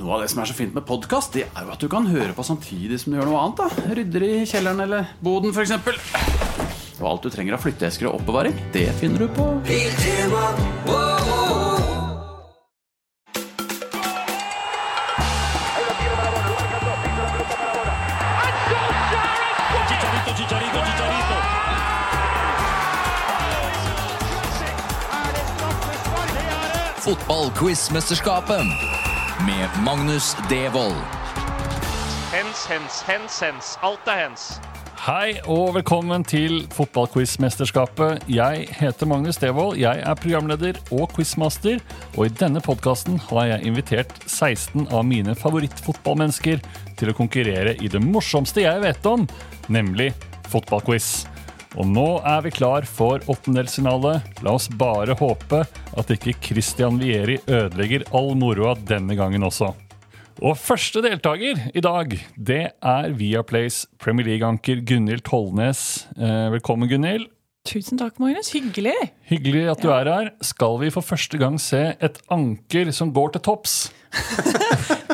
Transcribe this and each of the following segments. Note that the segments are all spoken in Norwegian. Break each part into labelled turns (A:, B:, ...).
A: Noe av det som er så fint med podkast, det er jo at du kan høre på samtidig som du gjør noe annet. da Rydder i kjelleren eller boden, f.eks. Og alt du trenger av flytteesker og oppbevaring, det finner du på
B: Chicharito, Chicharito, Chicharito.
C: Fotballquizmesterskapet med Magnus Devold.
D: Hens, hens, hens, hens. Alt er hens.
E: Hei og velkommen til fotballquizmesterskapet. Jeg heter Magnus Devold, jeg er programleder og quizmaster, og i denne podkasten har jeg invitert 16 av mine favorittfotballmennesker til å konkurrere i det morsomste jeg vet om, nemlig fotballquiz. Og nå er vi klar for åttendelsfinale. La oss bare håpe at ikke Christian Vieri ødelegger all moroa denne gangen også. Og første deltaker i dag, det er Viaplays Premier League-anker Gunhild Tollnes. Eh, Velkommen, Gunhild.
F: Tusen takk, Magnus. Hyggelig.
E: Hyggelig at du er her. Skal vi for første gang se et anker som går til topps?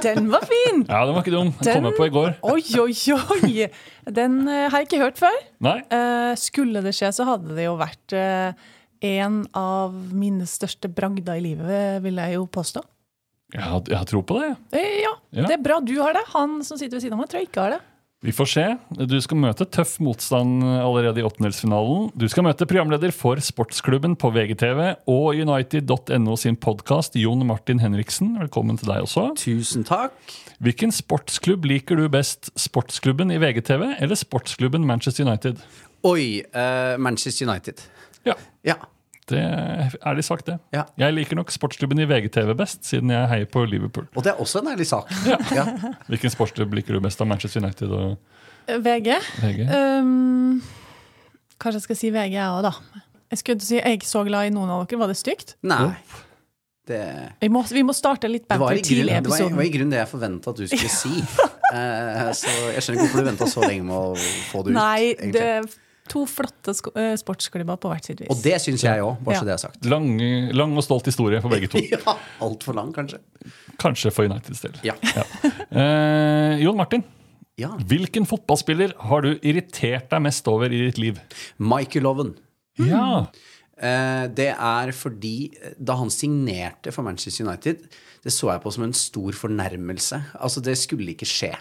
F: Den var fin!
E: Ja, den var ikke dum. Den
F: Den-
E: kom jeg på i går.
F: Oi, oi, oi! Den eh, har jeg ikke hørt før.
E: Nei?
F: Eh, skulle det skje, så hadde det jo vært eh, en av mine største bragder i livet, vil jeg jo påstå.
E: Jeg har, jeg har tro på det. jeg.
F: Eh, ja,
E: Ja.
F: det er bra du har det. Han som sitter ved siden av meg, tror jeg ikke har det.
E: Vi får se. Du skal møte tøff motstand allerede i åttendelsfinalen. Du skal møte programleder for Sportsklubben på VGTV og United.no sin podkast Jon Martin Henriksen. Velkommen til deg også.
A: Tusen takk.
E: Hvilken sportsklubb liker du best? Sportsklubben i VGTV eller sportsklubben Manchester United?
G: Oi, eh, Manchester United.
E: Ja,
G: Ja.
E: det er ærlig sagt, det.
G: Ja.
E: Jeg liker nok sportsklubben i VGTV best, siden jeg heier på Liverpool.
G: Og det er også en ærlig sak. Ja.
E: Hvilken sportsklubb liker du best av Manchester United og
F: Eh, VG.
E: VG?
F: Ehm, kanskje jeg skal si VG, jeg òg, da. Jeg skulle si jeg er ikke så glad i noen av dere. Var det stygt?
G: Nei. Det,
F: Vi må, vi må starte litt
G: det, var i
F: banter
G: grunn,
F: tidlig i
G: det, var, i-
F: episoden.
G: var i grunnen det jeg forventa at du skulle si. Eh, så jeg skjønner ikke hvorfor du venta så lenge med å få det ut.
F: Nei,
G: egentlig.
F: det er to flotte sko- eh, sportsklubber på hvert sitt vis.
G: Og det syns jeg òg, bare
F: Ja.
G: så det er sagt.
E: Lang, lang og stolt historie for begge to.
G: Ja, Altfor lang, kanskje.
E: Kanskje for Uniteds del.
G: Ja.
E: Eh, Jon Martin,
G: ja.
E: hvilken fotballspiller har du irritert deg mest over i ditt liv?
G: Michael Owen. Hmm.
E: Ja,
G: Eh, det er fordi eh, da han signerte for Manchester United, det så jeg på som en stor fornærmelse. Altså, det skulle ikke skje.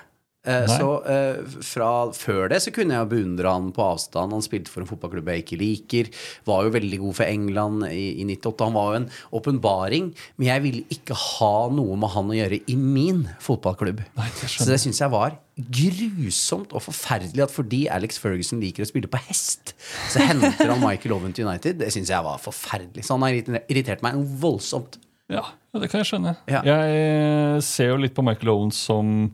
G: Eh,
E: Nei.
G: så eh, fra før det så kunne jeg jo beundre han på avstand. Han spilte for en fotballklubb jeg ikke liker. Var jo veldig god for England i, i 98. Han var jo en åpenbaring. Men jeg ville ikke ha noe med han å gjøre i min fotballklubb.
E: det skjønner
G: så det syns jeg var grusomt og forferdelig at fordi Alex Ferguson liker å spille på hest, så henter han Michael Owen til United. Det syns jeg var forferdelig. Så han har irritert- irritert meg noe voldsomt.
E: Ja, ja, det kan jeg skjønne.
G: Ja.
E: Jeg ser jo litt på Michael Owen som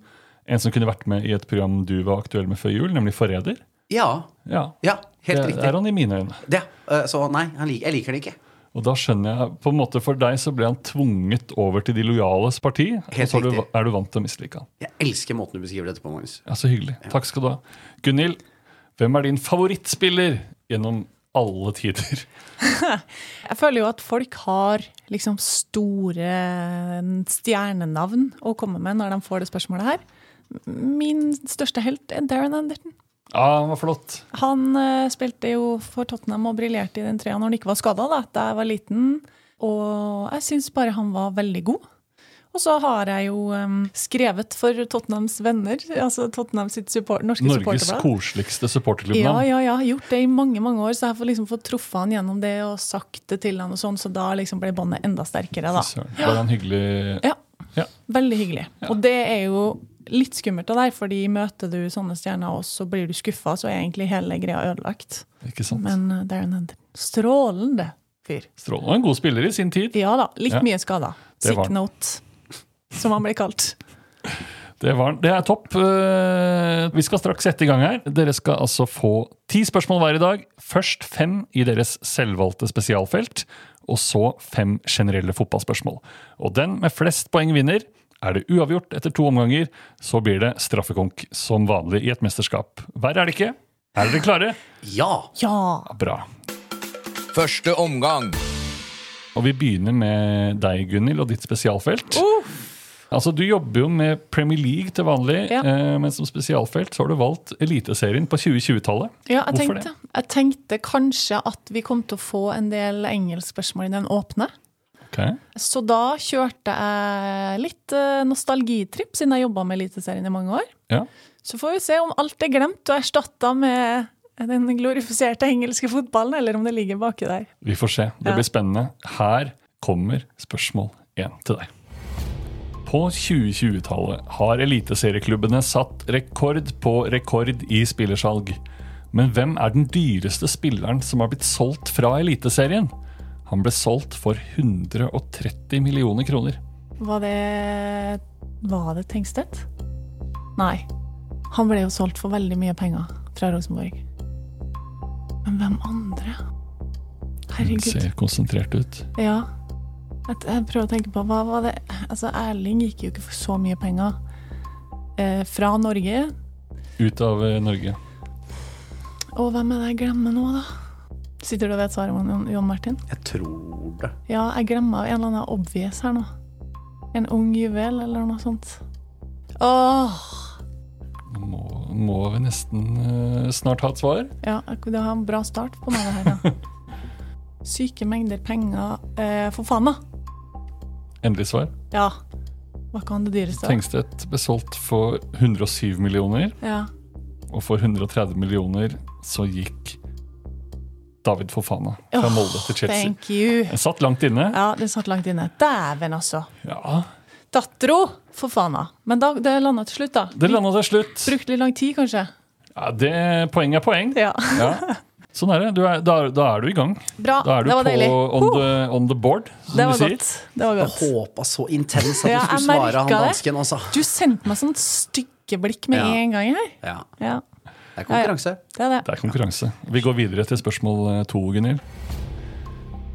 E: en som kunne vært med i et program du var aktuell med før jul, nemlig Forræder.
G: Ja.
E: Ja,
G: Ja, helt
E: det er
G: riktig.
E: han i mine øyne.
G: Det, eh, så nei, han lik- jeg liker det ikke.
E: Og da skjønner jeg, på en måte For deg så ble han tvunget over til de lojales parti.
G: Helt
E: og så er du,
G: riktig.
E: er du vant til å mislike han.
G: Jeg elsker måten du beskriver dette på, Magnus.
E: Ja, Så hyggelig. Takk skal du ha. Gunhild, hvem er din favorittspiller gjennom alle tider?
F: Jeg føler jo at folk har liksom store stjernenavn å komme med når de får det spørsmålet her. Min største helt er Darren Anderton.
E: Ja, han var flott.
F: Han eh, spilte jo for Tottenham og briljerte i den trea når han ikke var skada da da jeg var liten. Og jeg syns bare han var veldig god. Og så har jeg jo eh, skrevet for Tottenhams venner, altså Tottenham sitt support, norske
E: Norges
F: supporterblad.
E: koseligste
F: Ja,
E: supporterklubbnavn.
F: ja, ja, jeg har gjort det i mange mange år, så jeg har fått liksom fått truffet han gjennom det og sagt det til han, og sånn, så da liksom ble båndet enda sterkere. da.
E: Søren, Var han hyggelig?
F: Ja,
E: Ja.
F: Veldig hyggelig. Og det er jo litt skummelt av deg, fordi møter du sånne stjerner, og så blir du skuffa, så er egentlig hele greia ødelagt.
E: Ikke sant?
F: Men eh, Darren Hender strålende fyr.
E: Strålende. Han var En god spiller i sin tid.
F: Ja da, litt
E: Ja.
F: mye skada.
E: Det var
F: Sick
E: han.
F: note, som han ble kalt.
E: Det, var, det er topp. Eh, Vi skal straks sette i gang her. Dere skal altså få ti spørsmål hver i dag. Først fem i deres selvvalgte spesialfelt, og så fem generelle fotballspørsmål. Og den med flest poeng vinner. Er det uavgjort etter to omganger, så blir det straffekonk som vanlig i et mesterskap. Verre er det ikke. Er dere klare?
G: Ja!
F: Ja!
E: Bra.
C: Første omgang.
E: Og vi begynner med deg, Gunhild, og ditt spesialfelt. Altså, Du jobber jo med Premier League til vanlig,
F: Ja.
E: eh, men som spesialfelt så har du valgt Eliteserien på 2020-tallet.
F: Ja, jeg
E: Hvorfor
F: tenkte, jeg tenkte kanskje at vi kom til å få en del engelskspørsmål i den åpne.
E: Ok.
F: Så da kjørte jeg litt eh, nostalgitripp, siden jeg jobba med Eliteserien i mange år.
E: Ja.
F: Så får vi se om alt er glemt og erstatta med den glorifiserte engelske fotballen, eller om det ligger baki der.
E: Vi får se. Det
F: Ja.
E: blir spennende. Her kommer spørsmål 1 til deg. På 2020-tallet har eliteserieklubbene satt rekord på rekord i spillersalg. Men hvem er den dyreste spilleren som har blitt solgt fra Eliteserien? Han ble solgt for 130 millioner kroner.
F: Var det Var det Tengstedt? Nei. Han ble jo solgt for veldig mye penger fra Rosenborg. Men hvem andre?
E: Hun
F: Herregud.
E: ser konsentrert ut.
F: Ja. At jeg prøver å tenke på hva var det Altså, Erling gikk jo ikke for så mye penger. Eh, fra Norge.
E: Ut av eh, Norge.
F: Og hvem er det jeg glemmer nå, da? Sitter du og vet svaret, Jon- Jon Martin?
G: Jeg tror det.
F: Ja, jeg glemmer en eller annen obvious her nå. En ung juvel eller noe sånt. Åh!
E: Nå Må, må vi nesten eh, snart ha et svar?
F: Ja, ak- det har en bra start på meg det her, da. Syke mengder penger. Eh, for faen, da!
E: Endelig svar.
F: Ja. Var ikke han det dyreste? da?
E: Tengstedt ble solgt for 107 millioner,
F: Ja.
E: og for 130 millioner så gikk David Fofana fra
F: Åh,
E: Molde til Chelsea.
F: Thank you.
E: Den satt langt inne.
F: Ja, det satt langt inne. Dæven, altså.
E: Ja,
F: Dattero! For faen, da. Men da, det landa til slutt, da.
E: Det landa til slutt.
F: Brukte litt lang tid, kanskje.
E: Ja, det, poeng er poeng.
F: Ja.
E: Ja. Sånn er det. Du er, da, er- da er du i gang.
F: Bra.
E: Da er du
F: det var
E: på
F: deilig.
E: on
F: Huh,
E: the, on the board,
F: det
E: som du
F: var
E: sier.
F: godt. Det var
G: Jeg
F: godt.
G: håpa så intenst at du
F: Ja, jeg
G: skulle svare han
F: merket det.
G: dansken, altså.
F: Du sendte meg sånn stygge blikk med
G: Ja.
F: en gang her.
G: Ja,
F: Ja,
G: det er konkurranse.
F: det er det.
E: Det er konkurranse. Vi går videre til spørsmål eh, to, Gunhild.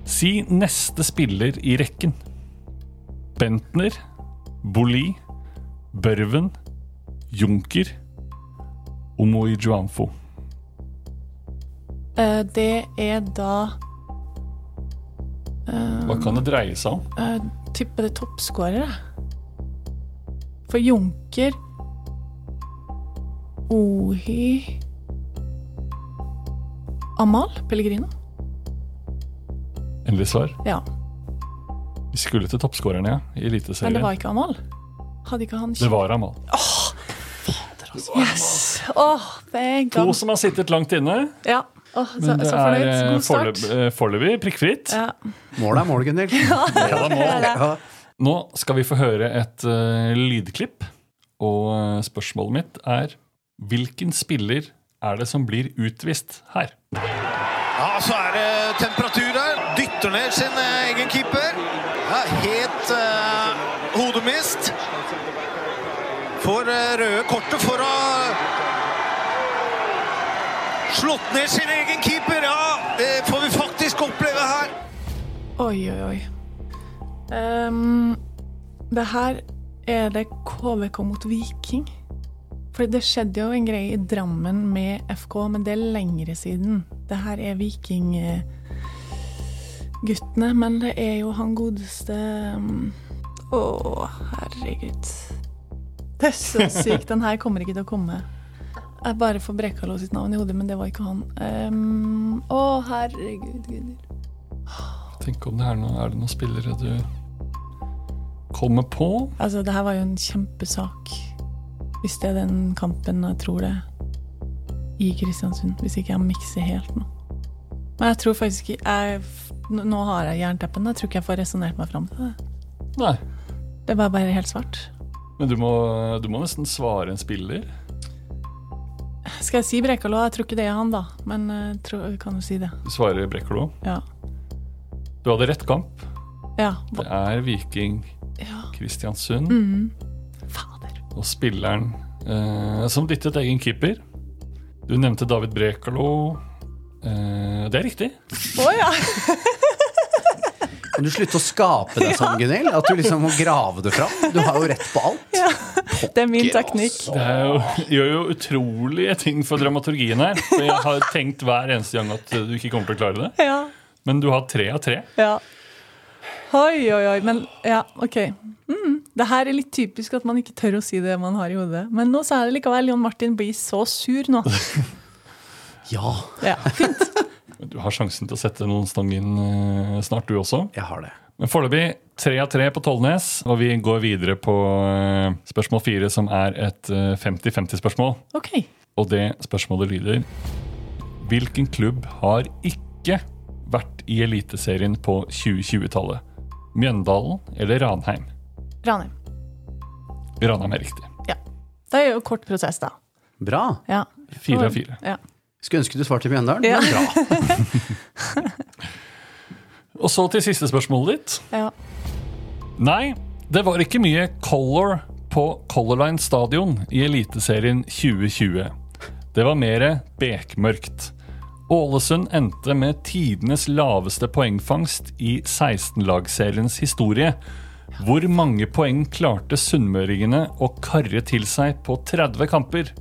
E: Si neste spiller i rekken. Bentner, Boli, Børven, Junker, Omoi Juanfo.
F: Eh, Det er da
E: Hva kan det dreie seg om?
F: eh, Tipper det er toppskårer, jeg. For Junker Ohi Amal Pellegrino?
E: Endelig svar.
F: Ja.
E: Vi skulle til toppskårerne ja, i
F: Men det
E: Eliteserien.
F: var ikke Amal? Hadde ikke han
E: Det var altså. Amal.
F: Yes! Åh, det er
E: To
F: gang.
E: som har sittet langt inne,
F: Ja. Åh, så,
E: men det
F: så
E: er
F: fornøyd.
E: eh,
F: God start.
E: foreløp- eh, foreløpig prikkfritt.
F: Ja.
G: Målet er mål, Gunhild. Ja.
E: Nå skal vi få høre et eh, lydklipp, og eh, spørsmålet mitt er Hvilken spiller er det som blir utvist her?
H: Ja, så er det temperatur der. Dytter ned sin eh, egen keeper. Ja, helt eh, hodemist. Får eh, røde kortet for å Slått ned sin egen keeper, ja! Det får vi faktisk oppleve her.
F: Oi, oi, oi. Ehm, det her er det KVK mot Viking. For det skjedde jo en greie i Drammen med FK, men det er lengre siden. Det her er vikingguttene, men det er jo han godeste ehm, Å, herregud. Det er så sykt. Den her kommer ikke til å komme. Jeg bare får Brekalo sitt navn i hodet, men det var ikke han. Ehm, Å, herregud, Gunhild.
E: Tenk om det er noen, er det noen spillere du kommer på?
F: Altså, det her var jo en kjempesak. Hvis det er den kampen jeg tror det i Kristiansund. Hvis ikke jeg mikser helt nå. Men jeg tror faktisk ikke jeg, Nå nå har jeg jernteppen. Jeg tror ikke jeg får resonnert meg fram til det.
E: Nei.
F: Det var bare helt svart.
E: Men du må, du må nesten svare en spiller.
F: Skal jeg si Brekalo? Jeg tror ikke det er han, da. Men jeg tror, jeg kan jo si det.
E: Du svarer Brekkolo.
F: Ja.
E: Du hadde rett kamp.
F: Ja.
E: Det er Viking
F: ja.
E: Kristiansund.
F: Fader.
E: Og spilleren eh, som dyttet egen keeper. Du nevnte David Brekalo. Eh, det er riktig.
F: Å ja!
G: Kan du slutte å skape det sånn, Gunhild? At du liksom må grave det fram? Du har jo rett på alt.
F: Det er min teknikk.
E: Det er jo, gjør jo utrolige ting for dramaturgien her. For jeg har tenkt hver eneste gang at du ikke kommer til å klare det.
F: Ja.
E: Men du har tre av tre.
F: ja. Oi, oi, oi. Men ja, OK. Mm. Det her er litt typisk at man ikke tør å si det man har i hodet. Men nå sa jeg det likevel. Jon Martin blir så sur nå.
G: Ja,
F: Ja, fint.
E: Du har sjansen til å sette noen stang inn eh, snart, du også.
G: jeg har det.
E: Men foreløpig tre av tre på Tollnes, og vi går videre på eh, spørsmål fire, som er et eh, 50-50-spørsmål.
F: OK.
E: Og det spørsmålet lyder Hvilken klubb har ikke vært i Eliteserien på 2020-tallet? Mjøndalen eller Ranheim?
F: Ranheim.
E: Ranheim er riktig.
F: Det er jo kort prosess, da.
G: Bra.
F: Ja.
E: Fire av fire.
F: Ja.
G: Skulle ønske du svarte Mjøndalen.
F: Ja.
G: Men bra.
E: Og så til siste spørsmålet ditt.
F: ja.
E: Nei, det var ikke mye color på Color Line stadion i Eliteserien 2020. Det var mer bekmørkt. Ålesund endte med tidenes laveste poengfangst i 16-lagseriens historie. Hvor mange poeng klarte sunnmøringene å karre til seg på 30 kamper?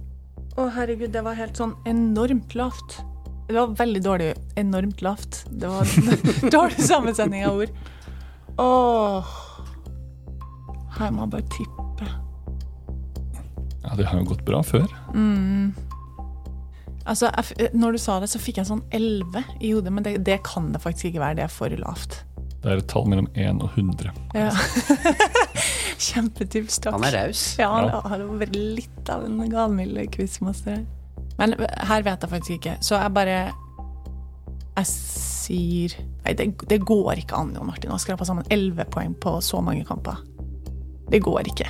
F: Å, herregud, det var helt sånn enormt lavt. Det var veldig dårlig. Enormt lavt. Det var dårlig sammensetning av ord. Åh. Her må jeg bare tippe.
E: Ja, Det har jo gått bra før.
F: Altså, jeg, f- når du sa det, så fikk jeg sånn 11 i hodet, men det, det kan det faktisk ikke være. Det er for lavt.
E: Det er et tall mellom 1 og 100.
F: Ja. Kjempetips, takk.
G: Han er raus.
F: Ja, han
E: Ja.
F: har jo vært litt av en galmild quizmaster. her. Men eh, her vet jeg faktisk ikke, så jeg bare Jeg sier Nei, det, det går ikke an, Jon Martin, å skrape sammen 11 poeng på så mange kamper. Det går ikke.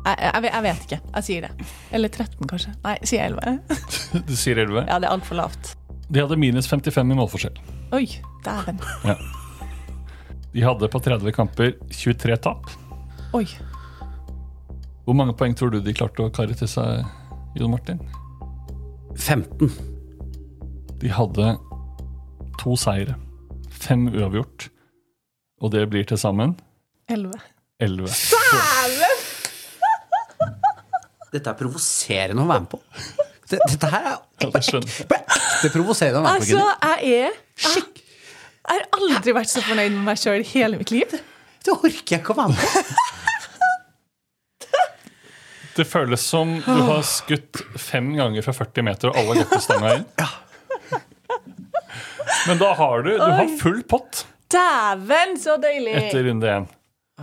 F: Jeg, jeg, jeg vet ikke. Jeg sier det. Eller 13, kanskje. Nei, sier jeg 11?
E: Du sier 11.
F: Ja, det er altfor lavt.
E: De hadde minus 55 i målforskjell.
F: Oi, dæven.
E: Ja. De hadde på 30 kamper 23 tap.
F: Oi.
E: Hvor mange poeng tror du de klarte å karre til seg, Jon Martin?
G: 15.
E: De hadde to seire, fem uavgjort, og det blir til sammen
F: 11.
E: 11.
G: Dette er provoserende å være med på. Det- Dette her er
E: Ja, det skjønner jeg.
G: på ekte provoserende å være med på.
F: Altså,
G: Gunnar.
F: jeg er Skikk. Jeg har aldri vært så fornøyd med meg sjøl i hele mitt liv.
G: Det orker jeg ikke å være med på.
E: Det føles som du har skutt fem ganger fra 40 meter, og alle har gått til stanga inn. Men da har du, du har full pott
F: Dæven, så deilig!
E: etter runde én.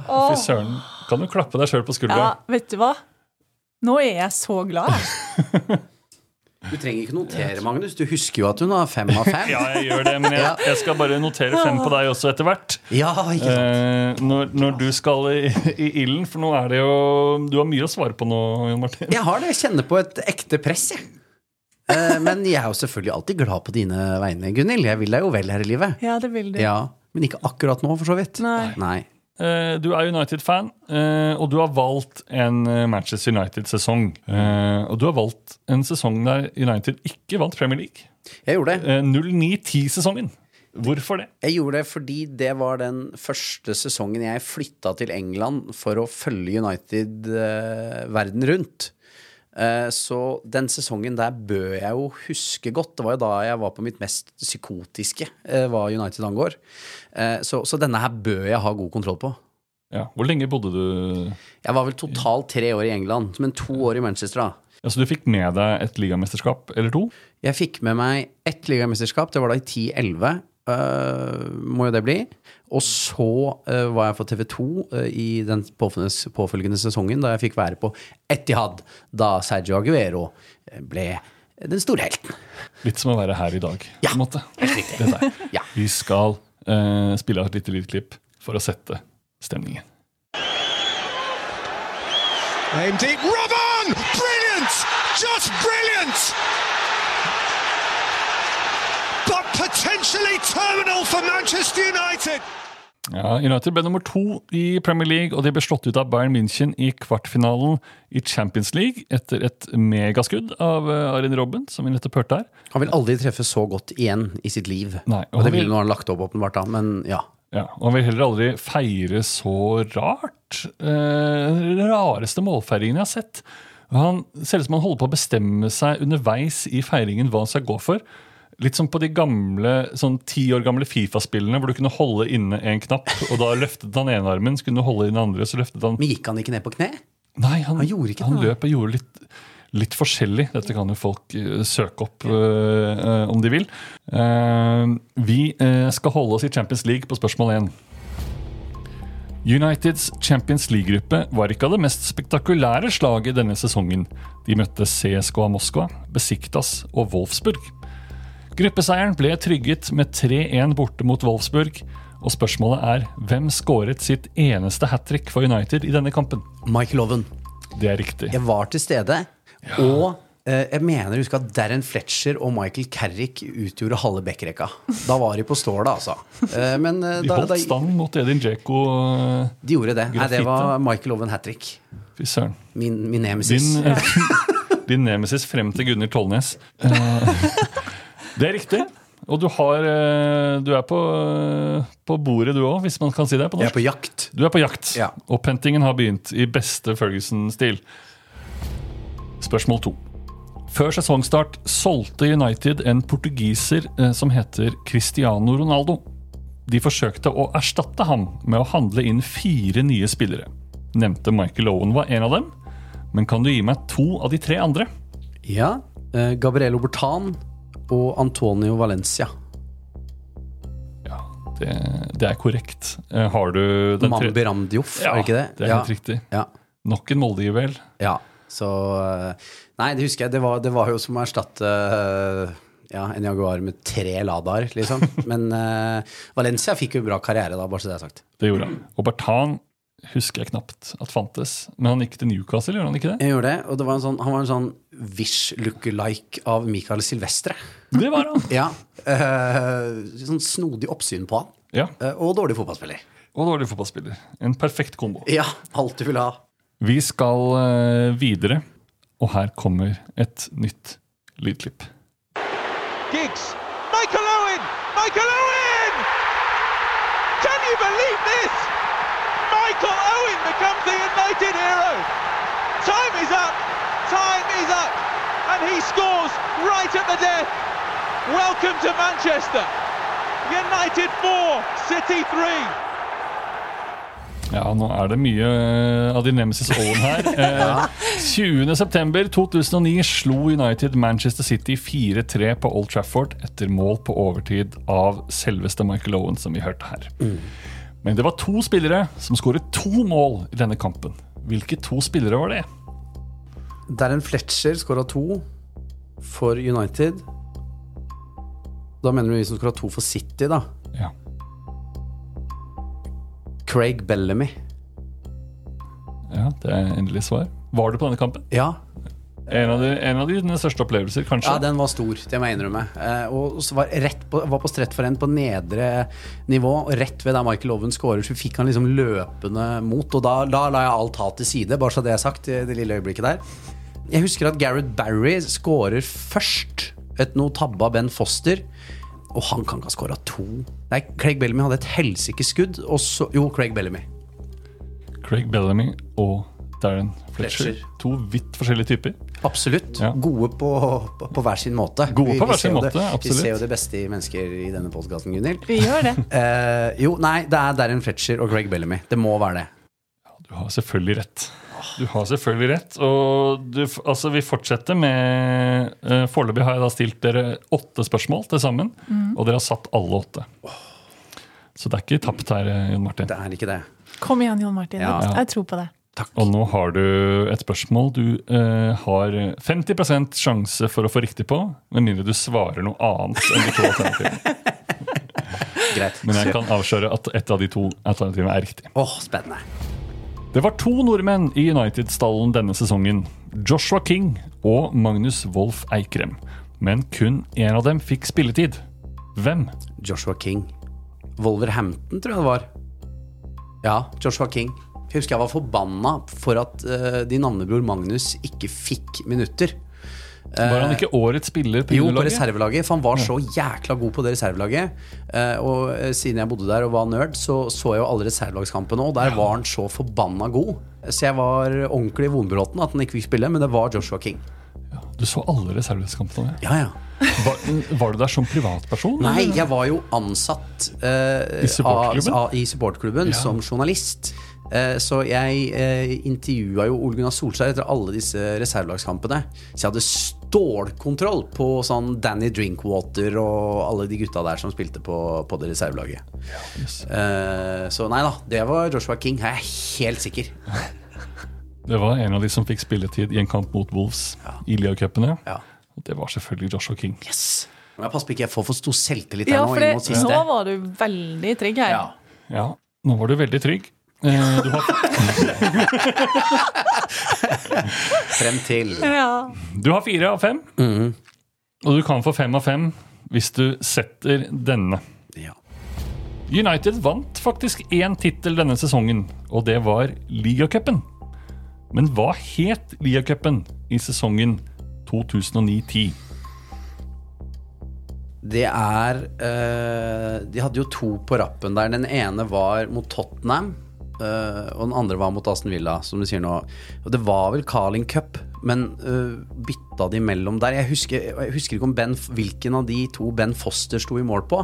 F: Åh.
E: Fy søren. Kan du klappe deg sjøl på skuldra?
F: Ja, vet du hva? Nå er jeg så glad. jeg.
G: Du trenger ikke notere, Magnus. Du husker jo at hun har fem av fem.
E: Ja, jeg gjør det, men jeg, jeg skal bare notere fem på deg også etter hvert.
G: Ja, ikke sant?
E: Eh, når, når du skal i, i ilden, for nå er det jo Du har mye å svare på nå, Jon Martin.
G: Jeg har det. Jeg kjenner på et ekte press, jeg. Eh, Men jeg er jo selvfølgelig alltid glad på dine vegne, Gunhild. Jeg vil deg jo vel her i livet.
F: Ja, det vil du.
G: Ja, Men ikke akkurat nå, for så vidt.
F: Nei.
E: Eh, du er United-fan, eh, og du har valgt en eh, Manchester United-sesong. Eh, og du har valgt en sesong der United ikke vant Premier League.
G: Jeg gjorde det.
E: Eh, 09-10-sesongen. Hvorfor det?
G: Jeg gjorde det fordi det var den første sesongen jeg flytta til England for å følge United eh, verden rundt. Eh, så den sesongen der bør jeg jo huske godt. Det var jo da jeg var på mitt mest psykotiske eh, hva United angår. Eh, så, så denne her bør jeg ha god kontroll på.
E: Ja, hvor lenge bodde du
G: Jeg var vel totalt tre år i England, men to år i Manchester. da.
E: Altså, Du fikk med deg et ligamesterskap eller to.
G: Jeg fikk med meg ett ligamesterskap. Det var da i 10-11. øh, må jo det bli. Og så øh, var jeg på TV 2 eh, i den påfølgende, påfølgende sesongen, da jeg fikk være på Etihad, da Sergio Aguero øh, ble den store helten.
E: Litt som å være her i dag.
G: Ja,
E: på en måte. Dette er.
G: Ja.
E: Vi skal eh, spille av et lite lydklipp for å sette stemningen.
H: Aimed deep. Rob on! Brilliant! Just brilliant! But potentially terminal for Manchester United.
E: Ja, United ble nummer to i Premier League, og de ble slått ut av Bayern München i kvartfinalen i Champions League etter et megaskudd av eh, Arin Robben, som vi nettopp hørte her.
G: Han vil aldri treffe så godt igjen i sitt liv.
E: Nei,
G: og
E: og
G: det
E: han vil-
G: ville nå han lagt opp, åpenbart, da. Men ja.
E: Ja, og han vil heller aldri feire så rart. Eh, den rareste målfeiringen jeg har sett. Og Han ser ut som han holder på å bestemme seg underveis i feiringen hva han skal gå for. Litt som på de gamle, sånn ti år gamle Fifa-spillene, hvor du kunne holde inne en knapp, og da løftet han ene armen, så kunne du holde inn den andre, så løftet han
G: Men gikk han ikke ned på kne?
E: Nei, han,
G: Han gjorde ikke
E: han
G: det, da.
E: løp og gjorde litt, litt forskjellig. Dette kan jo folk eh, søke opp eh, eh, om de vil. Eh, vi eh, skal holde oss i Champions League på spørsmål 1. Uniteds Champions League-gruppe var ikke av det mest spektakulære slaget denne sesongen. De møtte CSKA Moskva, Besiktas og Wolfsburg. Gruppeseieren ble trygget med 3-1 borte mot Wolfsburg. Og spørsmålet er hvem skåret sitt eneste hat trick for United i denne kampen?
G: Michael Owen.
E: Det er riktig.
G: Jeg var til stede, og eh, jeg mener jeg husker at Darren Fletcher og Michael Carrick utgjorde halve backrekka. Da var de på ståla, altså. Eh, men eh,
E: De
G: da,
E: holdt
G: da,
E: stand mot Edin Dzeko. øh,
G: de gjorde det. Nei, det
E: Graffiti.
G: var Michael Owen hat trick.
E: Fy søren.
G: Min, min nemesis.
E: Din, eh, din nemesis frem til Gunnhild Tollnes. Eh, Det er riktig. Og du, har, eh, du er på, eh, på bordet, du òg, hvis man kan si det på
G: Jeg er
E: norsk.
G: på jakt.
E: Du er på jakt.
G: Ja.
E: Opphentingen har begynt i beste Ferguson-stil. Spørsmål to. Før sesongstart solgte United en portugiser eh, som heter Cristiano Ronaldo. De forsøkte å erstatte ham med å handle inn fire nye spillere. Nevnte Michael Owen var en av dem, men kan du gi meg to av de tre andre?
G: Ja. eh, Gabriel Obertan og Antonio Valencia.
E: Ja, det, det er korrekt. Eh, Har du den
G: Mambi Ramdioff,
E: Ja,
G: er det ikke det?
E: det er helt riktig.
G: Ja.
E: Nok en Molde-juvel.
G: ja. Så eh, Nei, det husker jeg. Det var, det var jo som å erstatte eh, ja, en Jaguar med tre Ladaer, liksom. Men eh, Valencia fikk jo en bra karriere da, bare så det er sagt.
E: Det gjorde han. Og Bertan husker jeg knapt at fantes. Men han gikk til Newcastle, gjør han ikke det?
G: Jeg gjorde det, og det var en sånn, han var en sånn wish lookalike av Michael Silvestre.
E: Det var han!
G: Ja. eh, sånn snodig oppsyn på han.
E: Ja,
G: eh, og dårlig fotballspiller.
E: Og dårlig fotballspiller. En perfekt kombo.
G: Ja, alt du vil ha.
E: Vi skal eh, videre, og her kommer et nytt lydklipp.
I: Giggs. Michael Owen! Michael Owen! Can you believe this? Michael Owen becomes the United hero. Time is up. Time is up. And he scores right at the death. Welcome to Manchester. United 4, City 3.
E: Ja, nå er det mye eh, av din nemesis Owen her. Eh, 20.9.2009 slo United Manchester City 4-3 på Old Trafford etter mål på overtid av selveste Michael Owen, som vi hørte her. Men det var to spillere som skåret to mål i denne kampen. Hvilke to spillere var det?
G: Darren Fletcher skåra to for United. Da mener du vi som skåra to for City, da.
E: Ja.
G: Craig Bellamy.
E: Ja, det er endelig svar. Var du på denne kampen?
G: Ja,
E: En av, de, en av dine største opplevelser, kanskje?
G: ja den var stor, det må jeg innrømme. Eh, og så var, rett på, var på strett for en på nedre nivå, og rett ved der Michael Owen scorer, så fikk han liksom løpende mot. Og da, da la jeg alt hat til side, bare så det er sagt, i det lille øyeblikket der. Jeg husker at Gareth Barry scorer først et noe tabba Ben Foster. Og han kan ikke ha scora to. Nei, Craig Bellamy hadde et helsikes skudd. Og så Jo, Craig Bellamy.
E: Craig Bellamy og Darren Fletcher.
G: Fletcher.
E: To vidt forskjellige typer.
G: Absolutt.
E: Ja.
G: Gode på, på, på hver sin måte.
E: Gode på hver sin
G: ser jo
E: måte,
G: det,
E: absolutt.
G: Vi ser jo det beste i mennesker i denne podkasten, Gunhild.
F: Vi gjør det.
G: Eh, jo, nei, det er Darren Fletcher og Craig Bellamy. Det må være det.
E: Du har selvfølgelig rett. Du har selvfølgelig rett. Og du, f- altså, vi fortsetter med eh, Foreløpig har jeg da stilt dere åtte spørsmål til sammen. Og dere har satt alle åtte. Så det er ikke tapt her, eh, Jon Martin.
G: Det er ikke det.
F: Kom igjen, Jon Martin.
G: Ja.
F: Jeg tror på det.
E: Og nå har du et spørsmål du eh, har 50 sjanse for å få riktig på, med mindre du svarer noe annet enn de to alternativene.
G: Greit.
E: Men jeg kan avsløre at ett av de to alternativene er riktig.
G: Åh, spennende.
E: Det var to nordmenn i United-stallen denne sesongen. Joshua King og Magnus Wolff Eikrem. Men kun én av dem fikk spilletid. Hvem?
G: Joshua King. Wolverhampton, tror jeg det var. Ja, Joshua King. Jeg husker jeg var forbanna for at eh, din navnebror Magnus ikke fikk minutter.
E: Var han ikke årets spiller på
G: Eh, Jo, på
E: juniorlaget?
G: reservelaget, for han var så jækla god på det reservelaget. Eh, og eh, siden jeg bodde der og var nerd, så så jeg jo alle reservelagskampene, og der var han så forbanna god. Så jeg var ordentlig vonbroten at han ikke fikk spille, men det var Joshua King.
E: Du så alle reservekampene?
G: Ja, ja.
E: Var, var du der som privatperson?
G: Nei, jeg var jo ansatt eh,
E: I supportklubben?
G: av- av- i supportklubben som journalist. Eh, så jeg uh, intervjua jo Ole Gunnar Solskjær etter alle disse reservelagskampene. Så jeg hadde stålkontroll på sånn Danny Drinkwater og alle de gutta der som spilte på, på det reservelaget. Eh, så nei da, det var Joshua King, jeg er helt sikker.
E: Det var en av de som fikk spilletid i en kamp mot Wolves i Lia-cupene.
G: Ja.
E: Og det var selvfølgelig Joshua King.
G: Men jeg passer på ikke jeg får for stor selvtillit her
F: Ja,
G: nå.
F: for
G: inn
F: det,
G: mot siste.
F: nå var du veldig trygg her.
G: Ja.
E: Ja, nå var du veldig trygg. Eh, Du har,
G: Frem til
F: Ja.
E: du har fire av fem.
G: Mm.
E: Og du kan få fem av fem hvis du setter denne.
G: ja.
E: United vant faktisk én tittel denne sesongen, og det var ligacupen. Men hva het ligacupen i sesongen 2009-10?
G: Det er eh, De hadde jo to på rappen der. Den ene var mot Tottenham, eh, og den andre var mot Aston Villa, som du sier nå. Og det var vel Carling Cup, men eh, bytta de mellom der. Jeg husker, jeg husker ikke om ben, hvilken av de to Ben Foster sto i mål på.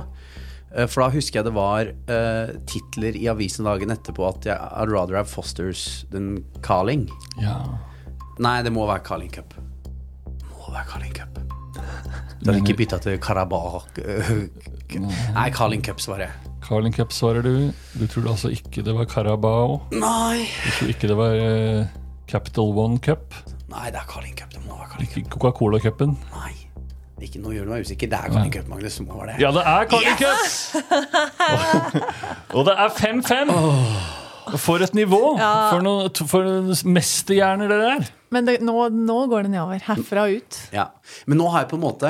G: Eh, For da husker jeg det var eh, titler i avisen dagen etterpå at jeg, I'd rather have Fosters than Carling.
E: Ja.
G: Nei, det må være Carling Cup. Må være Carling Cup. Du har ikke bytta til Karabakh øh, Nei, Carling Cup, svarer jeg.
E: Carling Cup, svarer du. Du tror altså ikke det var Carabao.
G: Nei.
E: Du tror ikke det var eh, Capital One Cup.
G: Nei, det er Carling Cup. Det må være Carling Cup.
E: Ikke Coca-Cola-cupen.
G: Nei. Ikke noe gjør meg usikker. Det er Carling Cup, Magnus. Det Må være det.
E: Ja, det er Carling Cup! Og det er 5-5! For et nivå! For, noe, for mesterhjerner dere er!
F: Men det, nå, nå går det nedover. Herfra og ut.
G: Ja. Men nå har jeg på en måte,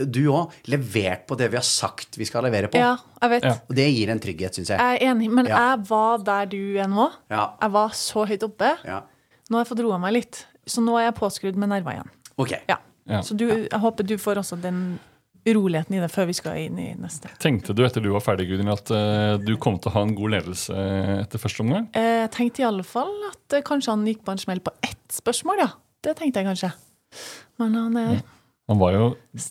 G: du òg, levert på det vi har sagt vi skal levere på.
F: Ja, Eh. jeg vet.
E: Ja.
G: Og det gir en trygghet, syns jeg.
F: Jeg er enig, men
G: Ja.
F: jeg var der du er nå.
G: Ja.
F: Jeg var så høyt oppe.
G: Ja.
F: Nå har jeg fått roa meg litt. Så nå er jeg påskrudd med nerver igjen.
G: Ok.
F: Ja.
E: Ja.
F: Så du, jeg håper du får også den uroligheten i det før vi skal inn i neste.
E: Tenkte du etter du var ferdig, Gudrun, at eh, du kom til å ha en god ledelse eh, etter første omgang?
F: Eh, Jeg tenkte i alle fall at eh, kanskje han gikk på en smell på ett spørsmål, ja. Det tenkte jeg kanskje. Men han eh,
G: Mm.
F: er
E: Han var jo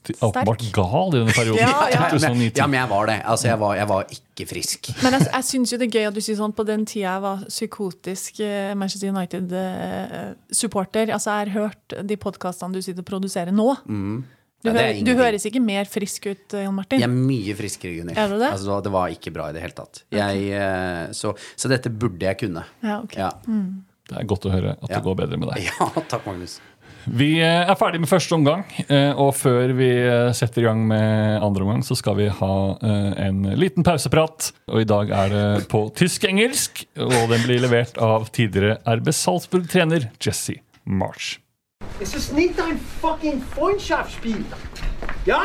E: t- åpenbart gal i denne perioden.
F: Ja, ja.
G: Men,
E: 2009.
G: ja, men jeg var det. Altså, jeg var, jeg var ikke frisk.
F: Men jeg, jeg syns jo det er gøy at du sier sånn på den tida jeg var psykotisk eh, Manchester United-supporter. altså jeg har hørt de podkastene du sitter og produserer nå. Du,
G: Mm. Ja, det er
F: hø- du
G: ingenting.
F: høres ikke mer frisk ut, eh, Jan Martin.
G: Jeg er mye friskere, Gunhild.
F: Er du det?
G: Altså, det var ikke bra i det hele tatt. Jeg, eh, så, så dette burde jeg kunne.
F: Ja, ok. Mm.
G: Ja.
E: Det er godt å høre at
G: Ja.
E: det går bedre med deg.
G: ja, takk, Magnus.
E: Vi eh, er ferdig med første omgang, eh, og før vi eh, setter i gang med andre omgang, så skal vi ha eh, en liten pauseprat. Og i dag er det på tysk-engelsk, og den blir levert av tidligere RB Salzburg-trener Jesse March.
J: Es ist nicht ein fucking Freundschaftsspiel. Ja?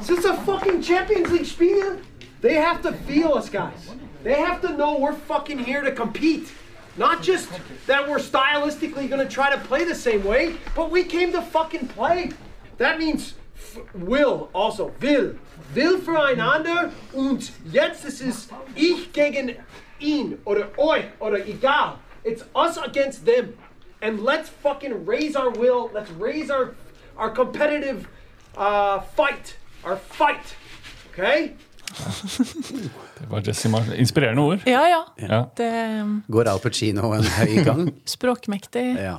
J: Es ist a fucking Champions League Spiel. They have to feel us guys. They have to know we're fucking here to compete. Not just that we're stylistically gonna try to play the same way, but we came to fucking play. That means f- will also. Will. Will füreinander und jetzt ist es ich gegen ihn oder euch oder egal. It's us against them. and let's fucking raise our will. Let's raise our our competitive uh, fight. Our fight. Okay.
E: Det var Jesse March. Inspirerende ord.
F: Ja, ja.
E: Ja.
F: Det er um,
G: Går Al Pacino en høy gang?
F: språkmektig.
G: Ja.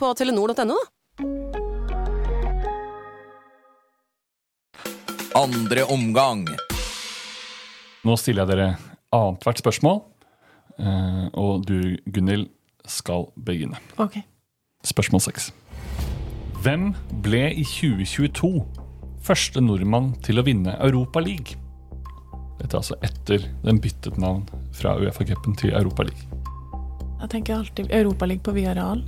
K: på telenor.no, da.
C: Andre omgang.
E: Nå stiller jeg dere annethvert spørsmål, eh, og du, Gunhild, skal begynne.
F: Ok.
E: Spørsmål seks. Hvem ble i 2022 første nordmann til å vinne Europa League? Dette er altså etter den byttet navn fra Uefa-cupen til Europa League.
F: Jeg tenker alltid Europaligaen på Villarreal.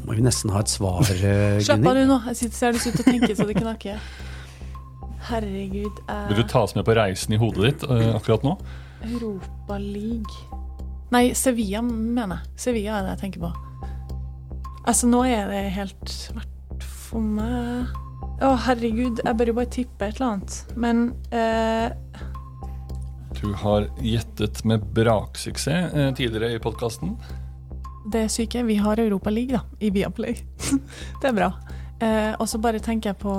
G: Nå må vi nesten ha et svar, eh,
F: Slapp av,
G: Gunhild.
F: du, nå. Jeg sitter, ser du sitter og tenker så det knaker. Herregud. Eh,
E: Vil du ta oss med på reisen i hodet ditt eh, akkurat nå?
F: Europa League Nei, Sevilla mener jeg. Sevilla er det jeg tenker på. Altså, nå er det helt svart for meg. Å, herregud, jeg bør jo bare tippe et eller annet. Men eh,
E: Du har gjettet med braksuksess eh, tidligere i podkasten.
F: det er syke, vi har Europa League, da, i Viaplay. det er bra. Eh, og så bare tenker jeg på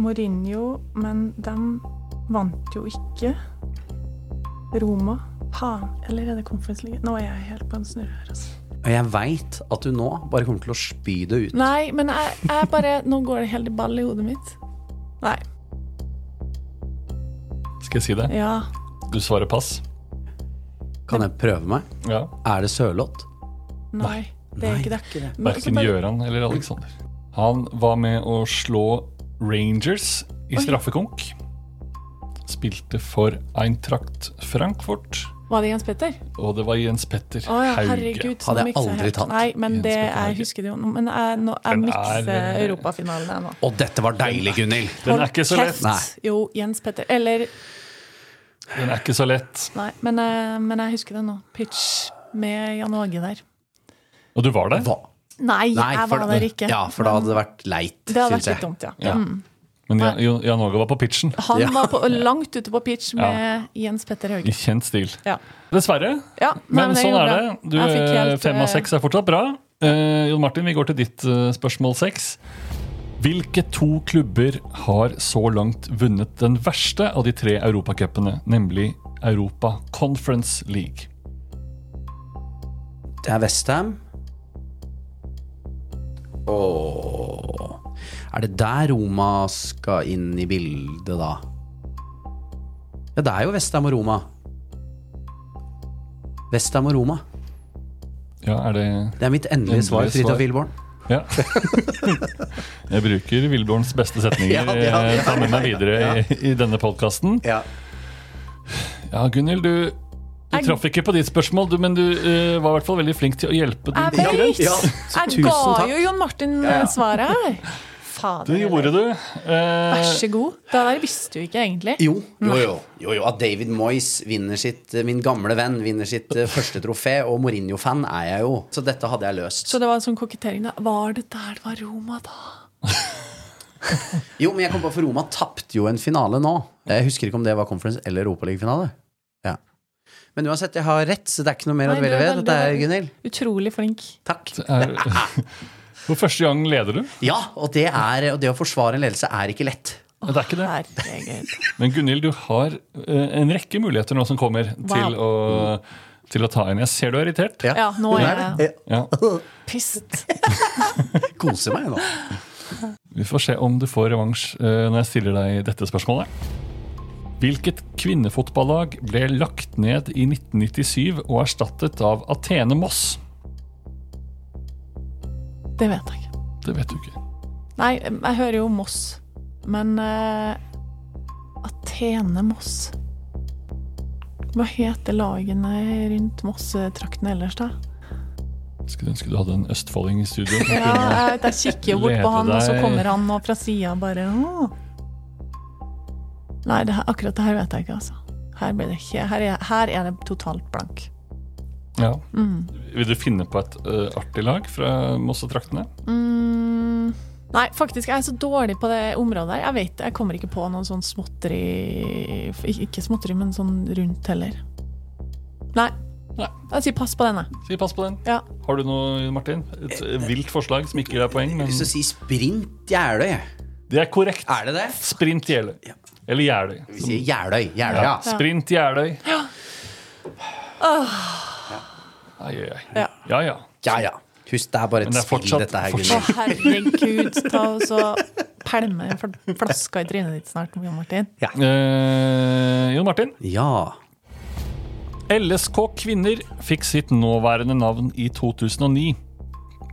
F: Mourinho, men de vant jo ikke Roma. Faen. Eller er det Conference League? Nå er jeg helt på en snurr her, altså.
G: Og jeg veit at du nå bare kommer til å spy det ut.
F: Nei, men jeg, jeg bare Nå går det helt i ball i hodet mitt. Nei.
E: Skal jeg si det?
F: Ja.
E: Du svarer pass.
G: Kan jeg prøve meg?
E: Ja.
G: Er det Sørloth?
F: Nei. Det er ikke det. Men også
E: Verken
F: bare-
E: Gjøran eller Alexander. Han var med å slå Rangers i
F: Oi.
E: straffekonk. Spilte for Eintracht Frankfurt,
F: Var det Jens Petter?
E: og det var Jens Petter
F: Å ja,
E: Hauge.
F: herregud. så mikser jeg helt. Nei, men det, jeg husker det jo. nå, Men jeg, nå, jeg
E: Den er,
F: mikser
E: eh,
F: europafinalen jeg nå.
G: Og dette var deilig, Gunhild!
E: Den er ikke så lett.
G: Nei.
F: Jo, Jens Petter. Eller
E: Den er ikke så lett.
F: Nei, men, eh, men jeg husker det nå. Pitch med Jan Åge der.
E: Og du var der?
F: Nei,
G: Nei,
F: jeg
G: for
F: var
G: da-
F: der ikke.
G: Ja, for da hadde det vært leit,
F: Det hadde
G: syns
F: vært
G: jeg.
F: litt dumt, ja.
E: Ja.
F: Mm.
E: Men Jan- Jan Jan Åge var på pitchen.
F: Han var på, langt ute på pitch
E: Ja.
F: med Jens Petter Hauge.
E: I kjent stil.
F: Ja.
E: Dessverre.
F: Ja, nei,
E: men
F: det
E: sånn
F: gjorde
E: er det.
F: jeg.
E: Du,
F: Jeg fikk
E: eh,
F: helt,
E: fem av
F: eh,
E: seks er fortsatt bra. Eh, Jon Martin, vi går til ditt eh, spørsmål seks. Hvilke to klubber har så langt vunnet den verste av de tre europacupene, nemlig Europa Conference League?
G: Det er Westham. Ååå Er det der Roma skal inn i bildet, da? Ja, det er jo Westham og Roma. Westham og Roma.
E: Ja, er det
G: Det er mitt endelige svar, Fridtjof Wilborn.
E: Ja. Jeg bruker Wilborns beste setninger.
G: Ja, det har vi.
E: eh, Ta med meg videre i, i denne podkasten.
G: Ja.
E: Gunhild, du, du
F: Jeg-
E: traff ikke på ditt spørmål, du, men du eh, var i hvert fall veldig flink til å hjelpe din
F: Jeg vet!
E: konkurrent.
F: jeg ga jo Jon Martin
E: Ja, ja.
F: eh, svaret her. Fader.
E: Det gjorde du. Eh,
F: Vær så god. Det der visste du ikke egentlig.
G: Jo, jo, jo. jo, jo. At David Moyes vinner sitt eh, Min gamle venn vinner sitt eh, første trofé, og Mourinho-fan er jeg jo. Så dette hadde jeg løst.
F: Så det var en sånn kokettering. da. Var det der det var Roma, da?
G: Jo, men jeg kom på for Roma tapte jo en finale nå. Jeg husker ikke om det var conference eller Europaliga-finale. Ja. Men uansett, jeg har rett, så det er ikke noe mer å
F: Nei, du
G: dvele
F: er
G: ved.
F: veldig-
G: Dette er Gunhild.
F: Utrolig flink.
G: Takk.
E: er, for første gang leder du.
G: Ja, og det, er, og det å forsvare en ledelse er ikke lett.
E: Men Det er ikke det.
F: Herregud.
E: Men Gunhild, du har eh, en rekke muligheter nå som kommer til, å, til å ta inn. Jeg ser du er irritert.
F: Ja, nå er jeg
E: Ja.
F: pissed.
G: Koser meg nå.
E: Vi får se om du får revansj eh, når jeg stiller deg dette spørsmålet. Hvilket kvinnefotballag ble lagt ned i 1997 og erstattet av Atene Moss?
F: Det vet jeg ikke.
E: Det vet du ikke.
F: Nei, jeg hører jo Moss. Men eh, Atene Moss Hva heter lagene rundt Moss-trakten ellers, da?
E: Skulle ønske du hadde en østfolding i studio. som
F: Ja,
E: kunne-
F: jeg, vet, jeg kikker jo bort på
E: Leder
F: han, og så
E: deg-
F: kommer han og fra sida bare «Åh». Nei, det her, akkurat det her vet jeg ikke, altså. Her, blir det ikke, her, er, her er det totalt blank.
E: Ja.
F: Mm.
E: Vil du finne på et eh, artig lag fra Moss og traktene?
F: Mm. Nei, faktisk, jeg er så dårlig på det området her. Jeg vet, jeg kommer ikke på noen sånn småtteri Ik- Ikke småtteri, men sånn rundt heller. Nei.
E: Nei.
F: Jeg sier pass på denne.
E: Si pass på den.
F: Ja.
E: Har du noe, Martin? Et
G: Eh,
E: vilt forslag som ikke gir deg poeng?
G: Jeg
E: Men
G: har lyst til å si sprint Jeløy.
E: det er korrekt.
G: Er det det?
E: Sprint Jeløy. Eller Jeløy.
G: Vi sier Jeløy. Jeløy, ja.
E: Ja. Sprint Jeløy. Ai, ai, ai.
F: Ja.
E: Ja, ja.
G: Ja, ja. Husk, det er bare
E: Men
G: et
E: det er
G: spill,
E: fortsatt-
G: dette her,
F: Å,
G: Gunhild.
F: herregud, ta og så pælme den fl- flaska i trynet ditt snart, Jon Martin.
E: Eh, Jon Martin.
G: Ja.
E: LSK Kvinner fikk sitt nåværende navn i 2009.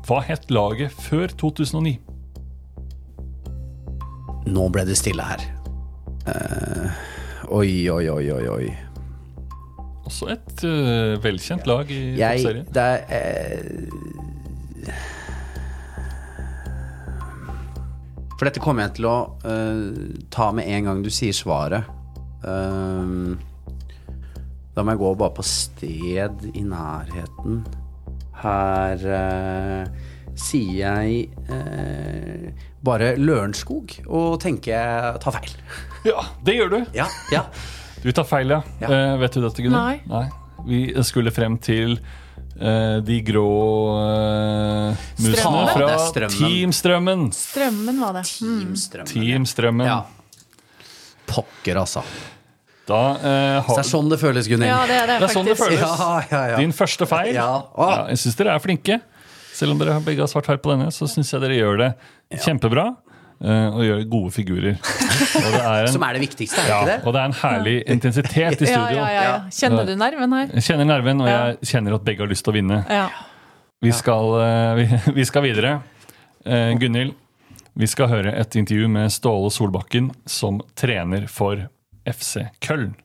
E: Hva het laget før 2009?
G: Nå ble det stille her. Eh, oi, oi, oi, oi, oi.
E: Også et eh, velkjent lag i
G: Jeg
E: toppserien.
G: Det er eh, For dette kommer jeg til å eh, ta med en gang du sier svaret. Ehm, da må jeg gå bare på sted i nærheten. Her eh, sier jeg eh, bare Lørenskog, og tenker jeg tar feil.
E: Ja, det gjør du.
G: Ja, ja.
E: Du tar feil, ja. Eh, vet du dette, Gunnar?
F: Nei.
E: Vi skulle frem til eh, de grå eh, musene
F: Strømmen.
E: fra
F: Det er strømmen.
E: Team Strømmen.
F: Strømmen var det. Mm.
E: Team Strømmen.
G: Pokker, altså.
E: Da eh,
G: Så
E: har
G: det er sånn det føles, Gunhild.
F: Ja, det er det,
E: sånn det
F: faktisk.
E: føles.
G: Ja, ja, ja.
E: Din første feil. Ja, jeg syns dere er flinke. Selv om dere har begge har svart feil på denne, så syns jeg dere gjør det kjempebra. eh, Og gjør gode figurer. Og det er en-
G: Som er det viktigste, er det
E: ja,
G: ikke det?
E: Og det er en herlig intensitet i studio.
F: Ja, ja, ja, ja. Kjenner du nerven her?
E: Jeg kjenner nerven, og jeg kjenner at begge har lyst til å vinne.
F: Ja.
E: Vi skal, eh, vi, vi skal videre. Eh, Gunhild, vi skal høre et intervju med Ståle Solbakken, som trener for FC Köln.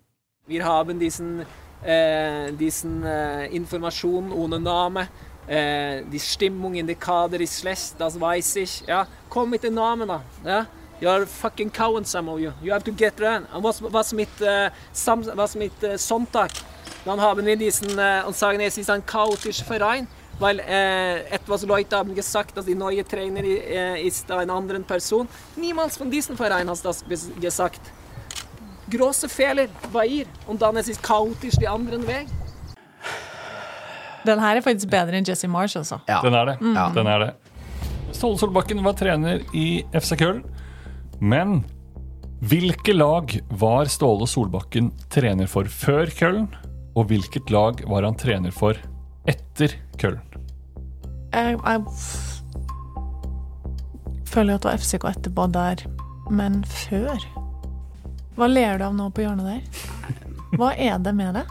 J: Wir haben diesen, äh, diesen äh, Information ohne Name. Äh, die Stimmung in der Kader ist schlecht, das weiß ich. Ja, komm mit den Namen da. Ja. You are fucking cowards, some of you. You have to get run. Und was, was mit, äh, Sam, was mit äh, Sonntag? Dann haben wir diesen äh, und sagen, es ist ein chaotischer Verein. Weil äh, etwas Leute haben gesagt, dass die neue Trainer äh, ist eine andere Person. Niemals von diesem Verein hast das ges- gesagt. große Fehler bei ihr. Und dann es ist chaotisch die anderen Weg.
F: Den her er faktisk bedre enn Jesse Marsh, altså.
E: Den er det. Den er det. Ståle Solbakken var trener i FC Köln. Men hvilke lag var Ståle Solbakken trener for før Köln? Og hvilket lag var han trener for etter Köln?
F: Jeg, jeg føler at det var FCK etterpå der, men før Hva ler du av nå på hjørnet der? Hva er det med det?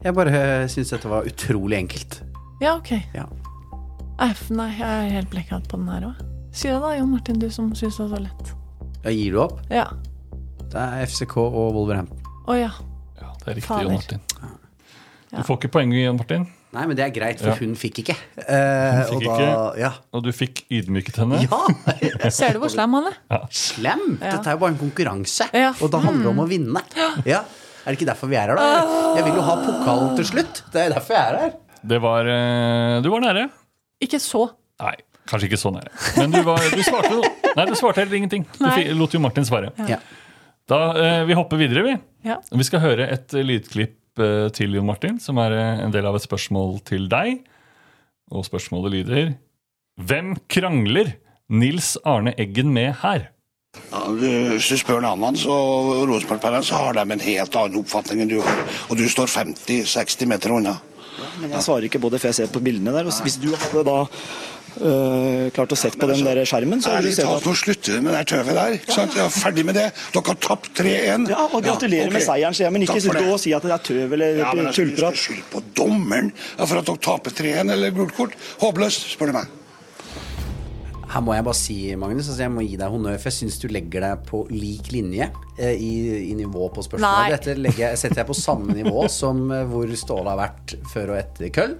G: Jeg bare syns dette var utrolig enkelt.
F: Ja, OK.
G: Ja.
F: F, nei, jeg er helt blekket på den her òg. Si det da, Jon Martin, du som syns det var så lett.
G: Jeg gir du opp?
F: Ja.
G: Det er FCK og Wolverhampton.
F: Å ja.
E: Det er riktig,
F: Fader.
E: Jon Martin. Du får ikke poeng, Jon Martin.
G: Nei, men det er greit, for
E: Ja.
G: hun fikk ikke.
E: Hun
G: Eh,
E: fikk
G: og da,
E: ikke,
G: ja.
E: og du fikk ydmyket henne.
F: Ser du hvor slem han er?
G: Slem!
F: Ja.
G: Dette er jo bare en konkurranse,
F: Ja.
G: og det handler om å vinne. Ja. Er det ikke derfor vi er her, da? Jeg vil jo ha pokalen til slutt. Det er derfor jeg er her.
E: Det var eh, Du var nære.
F: Ikke så.
E: Nei, kanskje ikke så nære. Men du, var, du svarte jo. Nei, du svarte heller ingenting. Du
F: Nei.
E: fi- lot jo Martin svare.
F: Ja.
E: Da, eh, vi hopper videre, vi.
F: Ja.
E: Vi skal høre et eh, lydklipp eh, til Jon Martin, som er eh, en del av et spørsmål til deg. Og spørsmålet lyder Hvem krangler Nils Arne Eggen med her?
H: Ja, du, hvis du spør navnene, så Rosenborg-pælene, så har de en helt annen oppfatning enn du har. Og du står 50-60 meter unna.
L: Men jeg svarer ikke på det, for jeg ser på bildene der. Og hvis du hadde da øh, klart å sett på den der skjermen, så hadde
H: Ærlig
L: du
H: talt,
L: sett
H: nå
L: at
H: slutter vi med det tøvet der. ikke sant? Ja, ferdig med det. Dere har tapt 3-1.
L: Ja, og gratulerer med seieren, sier jeg, men ikke
H: Takk for
L: sitte
H: det.
L: og si at det er tøv eller
H: Ja, men jeg synes
L: tullprat.
H: du skal skylde på dommeren ja, for at dere taper 3-1 eller gult kort. Håpløst, spør du meg.
G: Her må jeg bare si, Magnus, altså jeg må gi deg honnør, for jeg syns du legger deg på lik linje eh, i, i nivå på spørsmålet.
M: Nei.
G: Dette legger jeg, setter jeg på samme nivå som eh, hvor Ståle har vært før og etter Köln.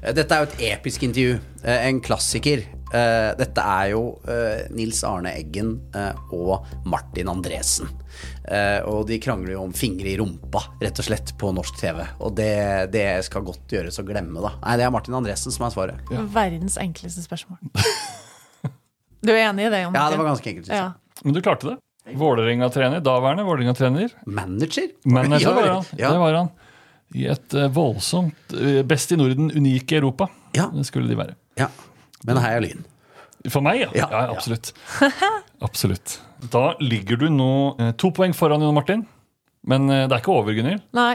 G: Eh, Dette er jo et episk intervju. eh, En klassiker. Eh, Dette er jo eh, Nils Arne Eggen eh, og Martin Andresen. Eh, Og de krangler jo om fingre i rumpa, rett og slett, på norsk TV. Og det, det skal godt gjøres å glemme, da. Nei, det er Martin Andresen som er svaret.
F: Verdens enkleste spørsmål. Du er enig i det,
E: Ja,
F: Jon Martin?
E: det var ganske enkelt, synes jeg.
F: Ja.
E: Men du klarte det. Vålerenga-trener, daværende Vålerenga-trener.
G: Manager?
E: Manager
G: Ja,
E: var han.
G: ja.
E: Det var han. I et eh, voldsomt eh, Best i Norden, unik i Europa. Det skulle de være.
G: Men heia Lyn.
E: For meg, ja. Ja, absolutt. absolutt. Da ligger du nå eh, to poeng foran, Jon Martin. Men eh, det er ikke over, Gunhild.
F: Nei.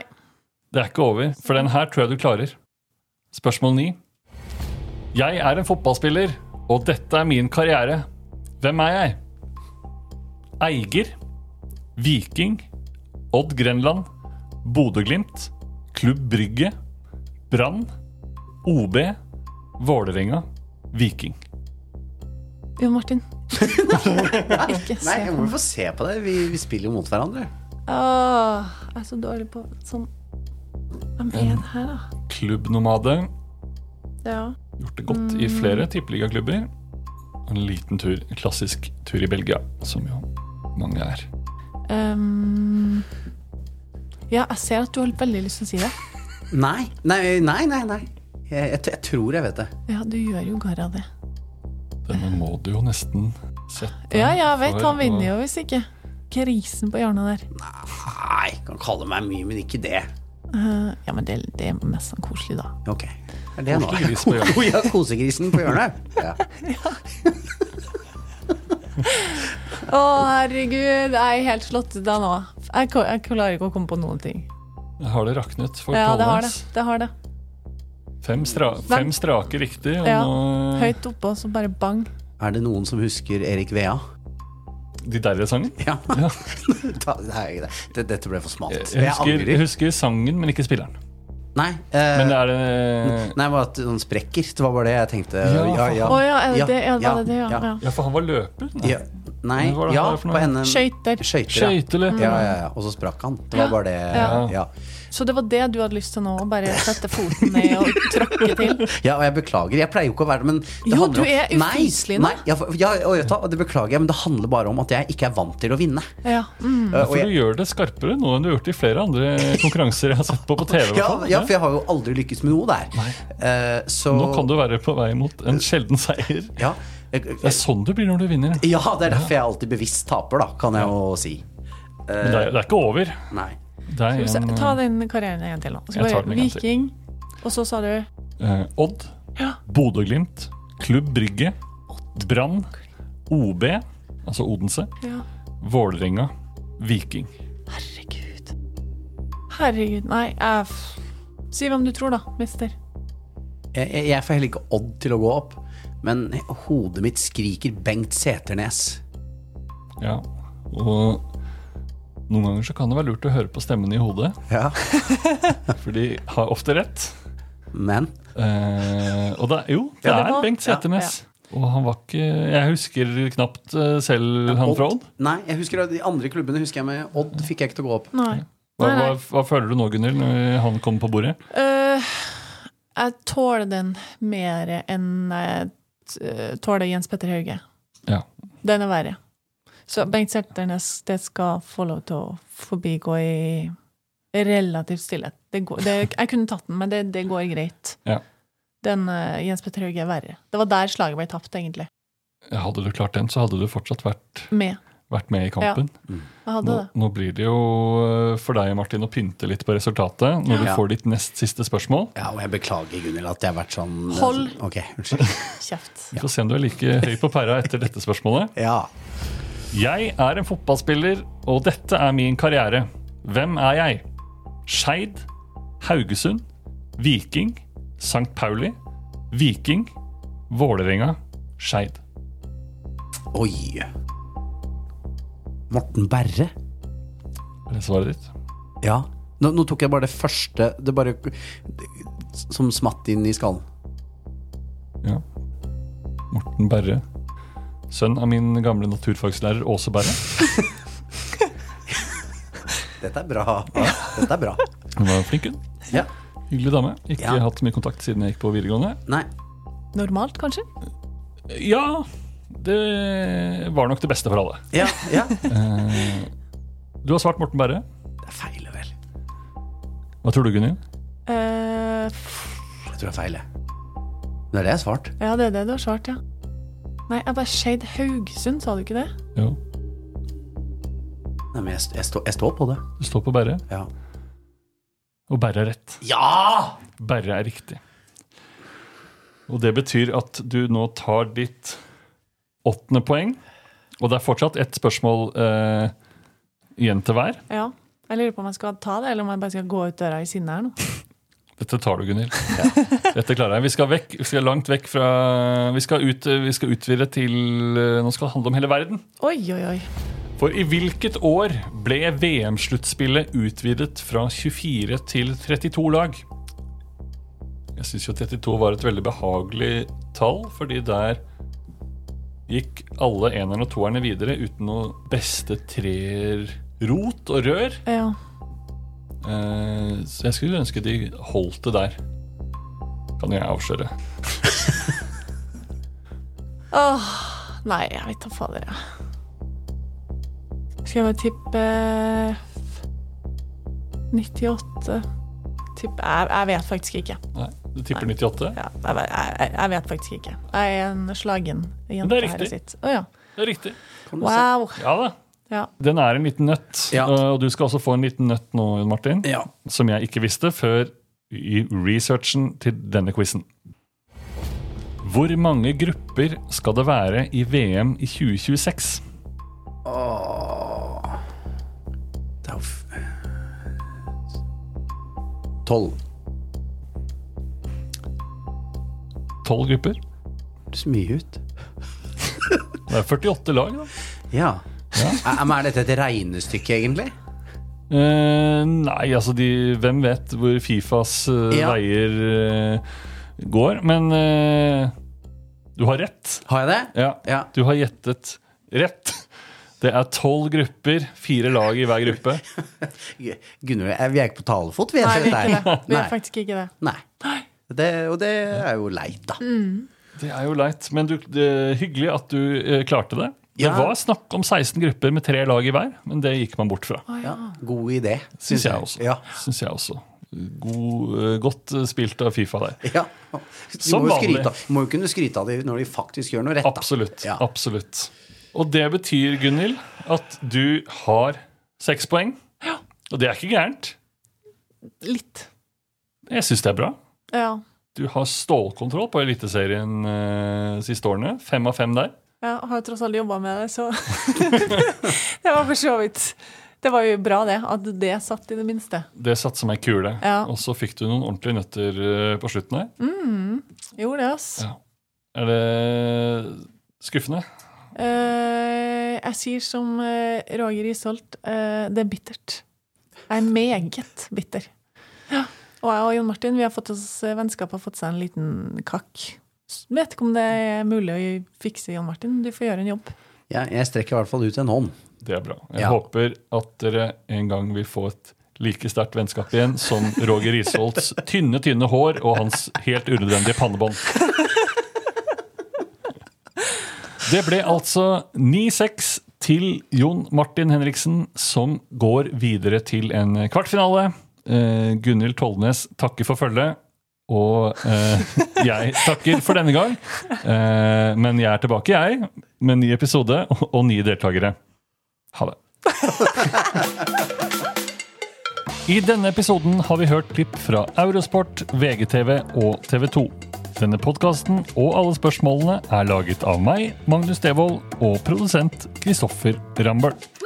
E: Det er ikke over, for den her tror jeg du klarer. Spørsmål 9. Jeg er en fotballspiller, og dette er min karriere. Hvem er jeg? Eiger, Viking, Odd Grenland, Bodø-Glimt, Klubb Brygge, Brann, OB, Vålerenga, Viking.
F: Jon Martin. Ikke se
G: Nei,
F: på
G: hvorfor
F: meg.
G: se på det? Vi, vi spiller jo mot hverandre.
F: Åh, jeg er så dårlig på sånn Hvem er det her, da?
E: Klubbnomade.
F: Ja. Mm.
E: Gjort det godt i flere tippeligaklubber. en liten tur, en klassisk tur i Belgia, som jo mange er.
F: Ehm, ja, jeg ser at du har veldig lyst til å si det.
G: Nei, nei, nei. nei, nei. Jeg, jeg, jeg tror jeg vet det.
F: Ja, du gjør jo garra det.
E: Denne må du jo nesten sette
F: Ja, jeg vet,
E: for
F: han vinner
E: å-
F: jo hvis ikke. Grisen på hjørnet der.
G: Nei, kan kalle meg mye, men ikke det.
F: Eh, ja, men det, det er mest sånn koselig, da.
G: Ok. Er det nå?
F: Kosegris på hjørnet.
G: Ja, kosegrisen på hjørnet. Ja.
F: Å, herregud, jeg er helt slått ut av nå. Jeg, ko- jeg klarer ikke å komme på noen ting.
E: Jeg Har det raknet for
F: Ja, det har det.
E: Kalnes?
F: det, har det.
E: Fem, stra fem strake riktig. Og
F: Ja,
E: nå
F: Høyt oppå, så bare bang.
G: Er det noen som husker Erik Vea?
E: De derre-sangen?
G: Ja. Ta- nei, det- det- Dette ble for smalt. Jeg,
E: Jeg husker,
G: angrer.
E: jeg husker sangen, men ikke spilleren.
G: Nei, eh,
E: Men er det
G: Nei, det var at noen sprekker. Det var bare det jeg tenkte.
E: Ja.
F: Å ja, er det det? Ja, var det det? Ja, ja.
E: Ja, for han var løper?
G: Ja. Nei,
E: Hva var det
G: ja,
E: han var for
G: på
E: noe?
G: henne
F: Skøyter.
G: Skøyter, ja.
E: Skøyteløper.
G: ja, ja, ja. Og så sprakk han. Det var
F: Mm. Ja.
G: bare det.
F: Ja.
G: Ja.
F: Så det var det du hadde lyst til nå? Å bare sette foten ned og tråkke til?
G: Ja, og jeg beklager. Jeg pleier jo ikke å være det, men det
F: Jo,
G: handler
F: du er
G: om- Nei,
F: ufyselig nå.
G: Nei, ja, for- ja, og vet du hva, det beklager jeg, men det handler bare om at jeg ikke er vant til å vinne. Eh,
F: Ja. Mm.
E: Ja, for du gjør det skarpere nå enn du har gjort i flere andre konkurranser jeg har sett på på TV. i hvert
G: Ja,
E: fall.
G: ja, for jeg har jo aldri lykkes med noe der. Eh, så
E: Nå kan du være på vei mot en sjelden seier.
G: Ja. Eh,
E: Det er sånn du blir når du vinner.
G: Ja, det er derfor jeg alltid bevisst taper, da, kan jeg jo si.
E: Men det er, det er ikke over.
G: Nei.
E: Det
F: Skal vi
E: er
F: se,
E: en, eh,
F: ta den karrieren en gang til nå. Så
E: Jeg tar
F: bare
E: den en gang til.
F: Viking, og så sa du
E: eh, Odd, Bodø-Glimt, Klubb Brygge, Brann, OB, altså Odense,
F: ja.
E: Vålerenga, Viking.
F: Herregud, nei. Jeg f- si hvem du tror, da, mister.
G: Jeg, jeg- jeg får heller ikke Odd til å gå opp, men hodet mitt skriker Bengt Seternes.
E: Ja. Og noen ganger så kan det være lurt å høre på stemmen i hodet.
G: Ja.
E: For de har ofte rett.
G: Men
E: Eh, Og det er jo, det
G: Ja, det
E: er
G: var-
E: Bengt Seternes. Og han var ikke Jeg husker knapt eh, selv han fra Odd.
G: Nei, jeg husker at de andre klubbene husker jeg med Odd fikk jeg ikke til å gå opp.
F: Nei.
E: Hva,
F: Nei,
E: hva,
F: nei.
E: hva føler du nå, Gunhild, når han kommer på bordet?
F: Eh, jeg tåler den mer enn jeg eh, tåler Jens Petter Hauge.
E: Ja.
F: Den er verre. Så Bengt Selternes, det skal få lov til å forbigå i relativt stillhet. Det går, det, jeg kunne tatt den, men det, det går greit.
E: Ja.
F: Den eh, Jens Petter Hauge er verre. Det var der slaget ble tapt, egentlig.
E: Hadde du klart den, så hadde du fortsatt vært,
F: Med.
E: vært med i kampen.
F: Jeg hadde
E: Nå,
F: det.
E: nå blir det jo eh, for deg, Martin, å pynte litt på resultatet når
G: Ja.
E: du får ditt nest siste spørsmål.
G: Ja, og jeg beklager, Gunhild, at jeg har vært sånn
F: Hold.
G: Ok, unnskyld.
F: Kjeft.
E: Vi får se om du er like høy på pæra etter dette spørsmålet. Jeg er en fotballspiller, og dette er min karriere. Hvem er jeg? Skeid, Haugesund, Viking, St. Pauli, Viking, Vålerenga, Skeid.
G: Oi. Morten Berre.
E: Er det svaret ditt?
G: Ja. Nå, nå tok jeg bare det første Det bare som smatt inn i skallen.
E: Ja. Morten Berre. Sønn av min gamle naturfagslærer Åse Berre.
G: Dette er bra. Dette er bra.
E: Hun var flink, hun.
G: Ja.
E: Hyggelig dame. Ikke
G: Ja.
E: hatt mye kontakt siden jeg gikk på videregående.
G: Nei.
F: Normalt, kanskje?
E: Ja, det var nok det beste for alle.
G: Ja, ja.
E: Eh, du har svart Morten Berre.
G: Det er feil, vel.
E: Hva tror du, Gunhild?
F: Eh,
G: Jeg tror det er feil, jeg. Det er det jeg har svart.
F: ja, det er det du har svart, ja. Nei, jeg bare Skeid Haugesund, sa du ikke det?
G: Nei, men jeg, st- jeg, står- jeg står på det.
E: Du står på Berre.
G: Ja.
E: Og Berre er rett.
G: Ja!
E: Berre er riktig. Og det betyr at du nå tar ditt åttende poeng. Og det er fortsatt ett spørsmål eh, igjen til hver.
F: Ja. Jeg lurer på om jeg skal ta det, eller om jeg bare skal gå ut døra i sinne her nå.
E: Dette tar du, Gunhild. Dette klarer jeg. Vi skal, vekk, vi skal langt vekk fra vi skal, ut, vi skal utvide til eh, Nå skal det handle om hele verden.
F: Oi, oi, oi.
E: For i hvilket år ble VM-sluttspillet utvidet fra 24 til 32 lag? Jeg syns jo 32 var et veldig behagelig tall, fordi der gikk alle eneren og toerne videre uten noe beste treer-rot og rør.
F: Ja.
E: Eh, Så jeg skulle ønske de holdt det der. Kan jeg avsløre.
F: Åh, Nei, jeg vet da fader, jeg. Skal jeg bare tippe eh, 98 Tipp jeg, jeg vet faktisk ikke.
E: Nei, du tipper 98?
F: Ja, jeg, jeg, jeg vet faktisk ikke. Jeg er en slagen
E: Men det er
F: jente her i
E: riktig.
F: sitt. Å ja.
E: Det er riktig.
A: Kan du se.
F: Wow.
E: Ja da.
F: Ja.
E: Den er en liten nøtt, eh, og du skal også få en liten nøtt nå, Jon Martin, som jeg ikke visste før i researchen til denne quizen. Hvor mange grupper skal det være i VM i 2026?
G: Åh. Det er jo f... Tolv.
E: Tolv grupper?
G: Det ser mye ut.
E: Det er 48 lag, da.
G: Ja. Er, men er dette et regnestykke, egentlig?
E: Eh, nei, altså de, hvem vet hvor Fifas eh,
G: Ja.
E: veier eh, går, men eh, du har rett.
G: Har jeg det?
E: Ja, Du har gjettet rett. Det er tolv grupper, fire lag i hver gruppe.
G: Gunnhild, er- vi er ikke på talefot, vi.
F: Nei, vi er
G: dette
F: ikke det.
G: her.
F: Vi
G: Nei.
F: er faktisk ikke det.
G: Nei. Det, og det er jo leit, da.
F: Mm.
E: Det er jo leit, men du, det er hyggelig at du eh, klarte det. Det
G: Ja.
E: var snakk om 16 grupper med tre lag i hver, men det gikk man bort fra.
G: God idé.
E: Syns jeg også. Synes jeg også. God, eh, godt eh, spilt av Fifa der.
G: De må, jo skryte, av- de må jo kunne skryte av det når de faktisk gjør noe rett. Da.
E: Absolutt. absolutt. Og det betyr, Gunhild, at du har seks poeng. Og det er ikke gærent.
F: Litt.
E: Jeg syns det er bra.
F: Ja.
E: Du har stålkontroll på Eliteserien eh, siste årene. Fem av fem der.
F: Jeg har jo tross alt jobba med det, så Det var for så vidt Det var jo bra, det. At det satt i det minste.
E: Det satt som ei kule.
F: Ja.
E: Og så fikk du noen ordentlige nøtter eh, på slutten her.
F: Mm. Gjorde det, ass.
E: Ja. Er det skuffende?
F: Eh, jeg sier som eh, Roger Isholt, eh, det er bittert. Jeg er meget bitter. Ja. Og jeg og Jon Martin, vi har fått oss eh, vennskap har fått seg en liten kakk. Vet ikke om det er mulig å fikse, Jon Martin. Du får gjøre en jobb.
G: Ja, jeg strekker i hvert fall ut en hånd.
E: Det er bra. Jeg
G: Ja.
E: håper at dere en gang vil få et like sterkt vennskap igjen som Roger Risholts tynne, tynne hår og hans helt unødvendige pannebånd. Det ble altså 9-6 til Jon Martin Henriksen, som går videre til en kvartfinale. Eh, Gunhild Tollnes takker for følget. Og eh, jeg takker for denne gang. Eh, men jeg er tilbake, jeg, med ny episode og, og nye deltakere. Ha det. I denne episoden har vi hørt klipp fra Eurosport, VGTV og TV 2. Denne podkasten og alle spørsmålene er laget av meg, Magnus Devold, og produsent Kristoffer Rambøll.